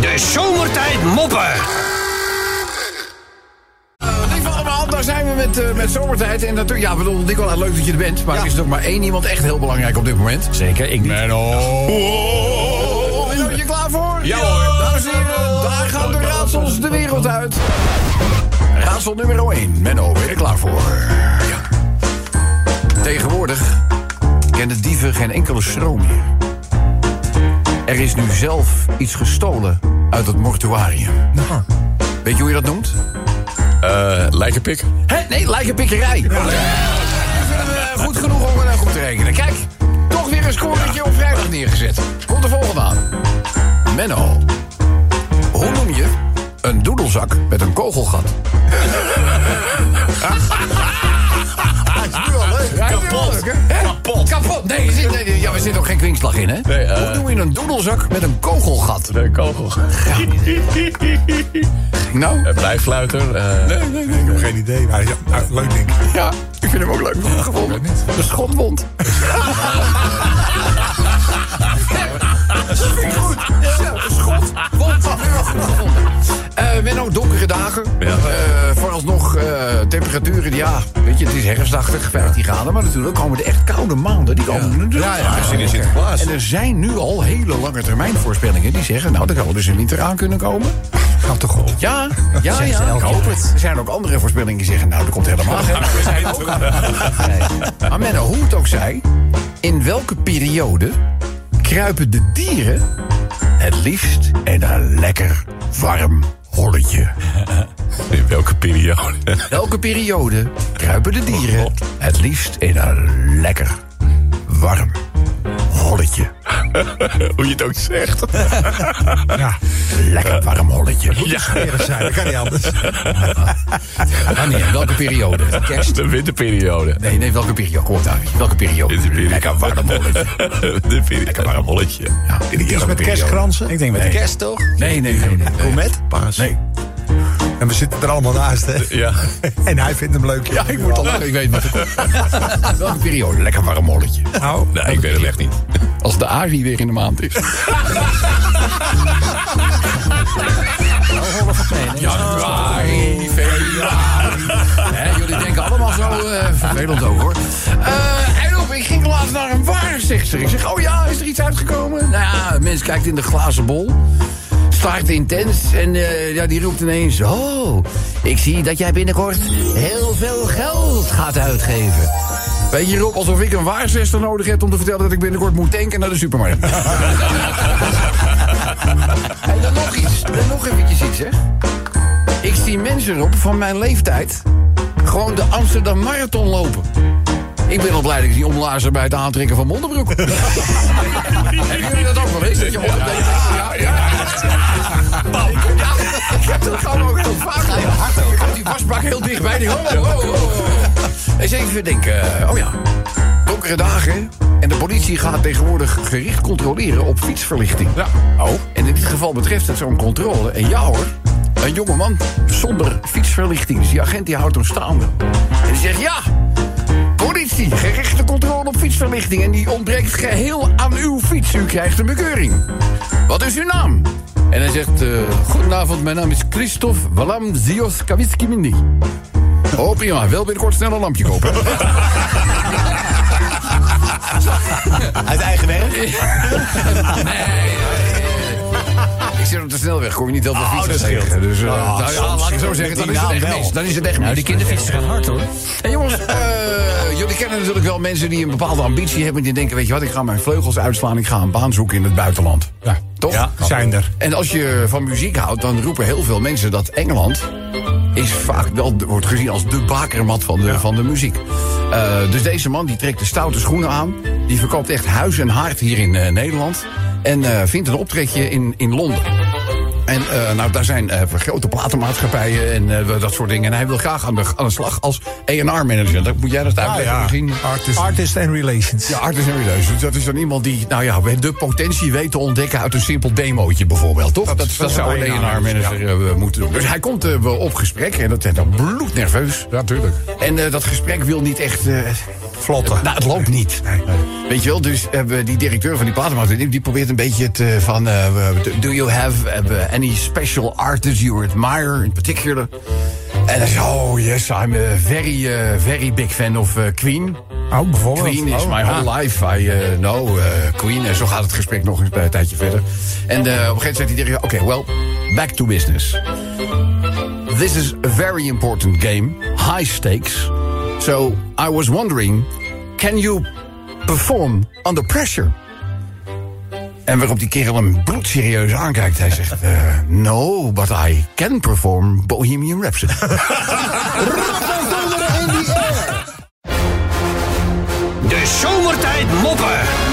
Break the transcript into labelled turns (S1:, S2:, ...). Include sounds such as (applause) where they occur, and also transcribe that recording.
S1: De zomertijd moppen.
S2: Nico allemaal, daar zijn we met, eh, met zomertijd. En natuurlijk, ja, ik bedoel, Nico, nou, leuk dat je er bent. Maar er is nog maar één iemand echt heel belangrijk op dit moment.
S1: Zeker, ik ben
S2: Ben je klaar voor?
S1: Oh, Ja, hoor.
S2: Dames en heren, daar gaan de raadsels de wereld uit. Raadsel nummer 1. Menno, ben je er klaar voor? Ja. Tegenwoordig kennen dieven geen enkele stroom meer. Er is nu zelf iets gestolen uit het mortuarium. Weet je hoe je dat noemt?
S1: Lijkenpik.
S2: Hè? Nee, lijkenpikkerij. Ja. Dat vinden we eh, goed genoeg om eh, goed te rekenen. Kijk, toch weer een scoretje op vrijdag neergezet. Komt de volgende aan. Menno, hoe noem je een doedelzak met een kogelgat? Hij is nu al leuk. Hij is nu al
S1: Kapot.
S2: leuk, hè? Hè?
S1: Kapot.
S2: Kapot. Nee, er zit, nee, nee, ja, er zit ook geen kwinkslag in, hè?
S1: Nee, eh.
S2: Hoe noem je een doedelzak met een kogelgat?
S1: De kogel.
S2: Nou,
S1: Blijfluiter. eh
S3: Nee, nee, nee, ik heb geen idee. Maar ja, nou, leuk denk ik.
S2: Ja, ik vind hem ook leuk gevonden. De schotwond.
S3: (laughs)
S2: Dat vind ik goed. Ja, de schotwond. Dat vind ik wel goed gevonden. Eh, Menno, donkere dagen. Eh, vooralsnog eh, temperaturen, die, ja, weet je, het is herfstachtig, 15 graden. Maar natuurlijk komen de echt koude maanden. Die komen natuurlijk.
S3: Ja, ja, zin in Sinterklaas.
S2: En er zijn nu al hele lange termijn voorspellingen die zeggen... nou, er zou dus een winter aan kunnen komen.
S3: Gaat toch op.
S2: (laughs) Ja, ja, ja. Ik hoop het. Er zijn ook andere voorspellingen die zeggen... nou, er komt helemaal geen (laughs) maar Menno, hoe het ook zij, in welke periode kruipen de dieren het liefst in een lekker warm holletje?
S1: in welke periode? (laughs)
S2: Welke periode kruipen de dieren het liefst in een lekker warm holletje?
S1: Hoe je het ook zegt.
S3: Ja,
S2: Lekker warm holletje.
S3: smerig zijn, dat kan niet anders.
S2: Wanneer? Welke (laughs) periode? Kerst?
S1: De winterperiode.
S2: Nee, nee, welke periode? Kom op, David. Welke periode?
S1: Winterperiode.
S2: Lekker warm holletje.
S1: (laughs) De periode. Lekker warm holletje. Ja.
S3: Iets met kerstkransen. Ik denk met kerst toch?
S2: Nee, nee, nee. nee.
S3: met? Paas.
S2: Nee.
S3: En we zitten er allemaal naast, hè?
S1: Ja. (laughs)
S3: En hij vindt hem leuk. Ja,
S2: Ik word al langer, ik weet wat er komt. (laughs) Welke periode? Lekker warm holletje.
S3: Nou,
S1: Nee, ik weet het echt niet.
S2: Als de Ari weer in de maand is.
S1: Ah,
S2: Januari, februari. Hè, Jullie denken allemaal zo eh, vervelend ook hoor. Eh Eindhoven, ik ging laatst naar een waarzegster. Ik zeg, oh ja, is er iets uitgekomen? Nou ja, een mens kijkt in de glazen bol. Staart intens en eh, ja, die roept ineens... Oh, ik zie dat jij binnenkort heel veel geld gaat uitgeven. Weet je Rob, alsof ik een waarzegster nodig heb om te vertellen... dat ik binnenkort moet tanken naar de supermarkt. (laughs) En dan nog iets, dan nog eventjes iets, hè. Ik zie mensen op van mijn leeftijd gewoon de Amsterdam Marathon lopen. Ik ben al blij dat ik die omlazer bij het aantrekken van modderbroek. (laughs) Hebben jullie dat ook wel eens? Dat je ja, ja, ja. Ja, ik heb dat gewoon ook heel vaak. gedaan. Ik had die wasbak heel dichtbij. Die, oh, oh, oh, oh. Eens even denken. eh, Oh ja, donkere dagen. En de politie gaat tegenwoordig gericht controleren op fietsverlichting. Ja. Oh. En in dit geval betreft het zo'n controle. En ja hoor, een jongeman zonder fietsverlichting. Dus die agent die houdt hem staande. En die zegt ja... Politie, gerichte controle op fietsverlichting en die ontbreekt geheel aan uw fiets. U krijgt een bekeuring. Wat is uw naam? En hij zegt, eh, goedenavond, mijn naam is Christophe Walam Zios Kawitski-Mindi. Oh, prima. Wel binnenkort snel een lampje kopen.
S4: (laughs) Uit eigen werk?
S2: Ik zit op de snelweg, kom je niet heel veel fietsen
S4: Oh, dat scheelt.
S2: tegen. Dus eh,
S4: Ah,
S2: nou ja,
S4: soms
S2: laat ik het zo
S4: met
S2: zeggen,
S4: die
S2: dan is het
S4: naam
S2: echt
S4: wel.
S2: mis. Dan is het echt mis.
S5: Nou, die kinderfietsen gaan hard hoor.
S2: En jongens, eh, jullie kennen natuurlijk wel mensen die een bepaalde ambitie hebben... die denken, weet je wat, ik ga mijn vleugels uitslaan... ik ga een baan zoeken in het buitenland.
S3: Ja.
S2: Toch?
S3: Ja, zijn er.
S2: En als je van muziek houdt, dan roepen heel veel mensen dat Engeland is vaak wel, wordt gezien als de bakermat van de, van de muziek. Eh, dus deze man die trekt de stoute schoenen aan. Die verkoopt echt huis en hart hier in eh, Nederland. En eh, vindt een optrekje in, in Londen. En eh, nou, daar zijn eh, grote platenmaatschappijen en eh, dat soort dingen. En hij wil graag aan de, aan de slag als A&R-manager. Dat moet jij dat uitleggen misschien?
S3: Ah, Artist. Artist and Relations.
S2: Ja, Artis en Relations. Dus dat is dan iemand die, nou ja, de potentie weet te ontdekken uit een simpel demootje bijvoorbeeld, toch? Dat, dat, zou
S3: dat zou
S2: een
S3: een
S2: A&R-manager eh, moeten doen. Dus hij komt eh, wel op gesprek en dat is dan bloednerveus.
S3: natuurlijk.
S2: En eh, dat gesprek wil niet echt eh,
S3: vlotte.
S2: Nou, het loopt niet.
S3: Nee.
S2: Weet je wel, dus hebben we die directeur van die platenmaatschappij... die- die probeert een beetje het eh, van... eh, do you have eh, any special artist you admire in particular? En hij zegt, oh yes, I'm a very, eh, very big fan of eh, Queen.
S3: Oh, bijvoorbeeld.
S2: Queen is
S3: Oh,
S2: my
S3: ah.
S2: whole life. I eh, know eh, Queen. En zo gaat het gesprek nog eens bij een tijdje verder. En eh, op een gegeven moment zegt die directeur... Oké, well, back to business. This is a very important game. High stakes. So I was wondering... Can you perform under pressure? En waarop die kerel hem bloedserieus aankijkt. Hij zegt, eh, no, but I can perform Bohemian Rhapsody.
S5: De zomertijd moppen.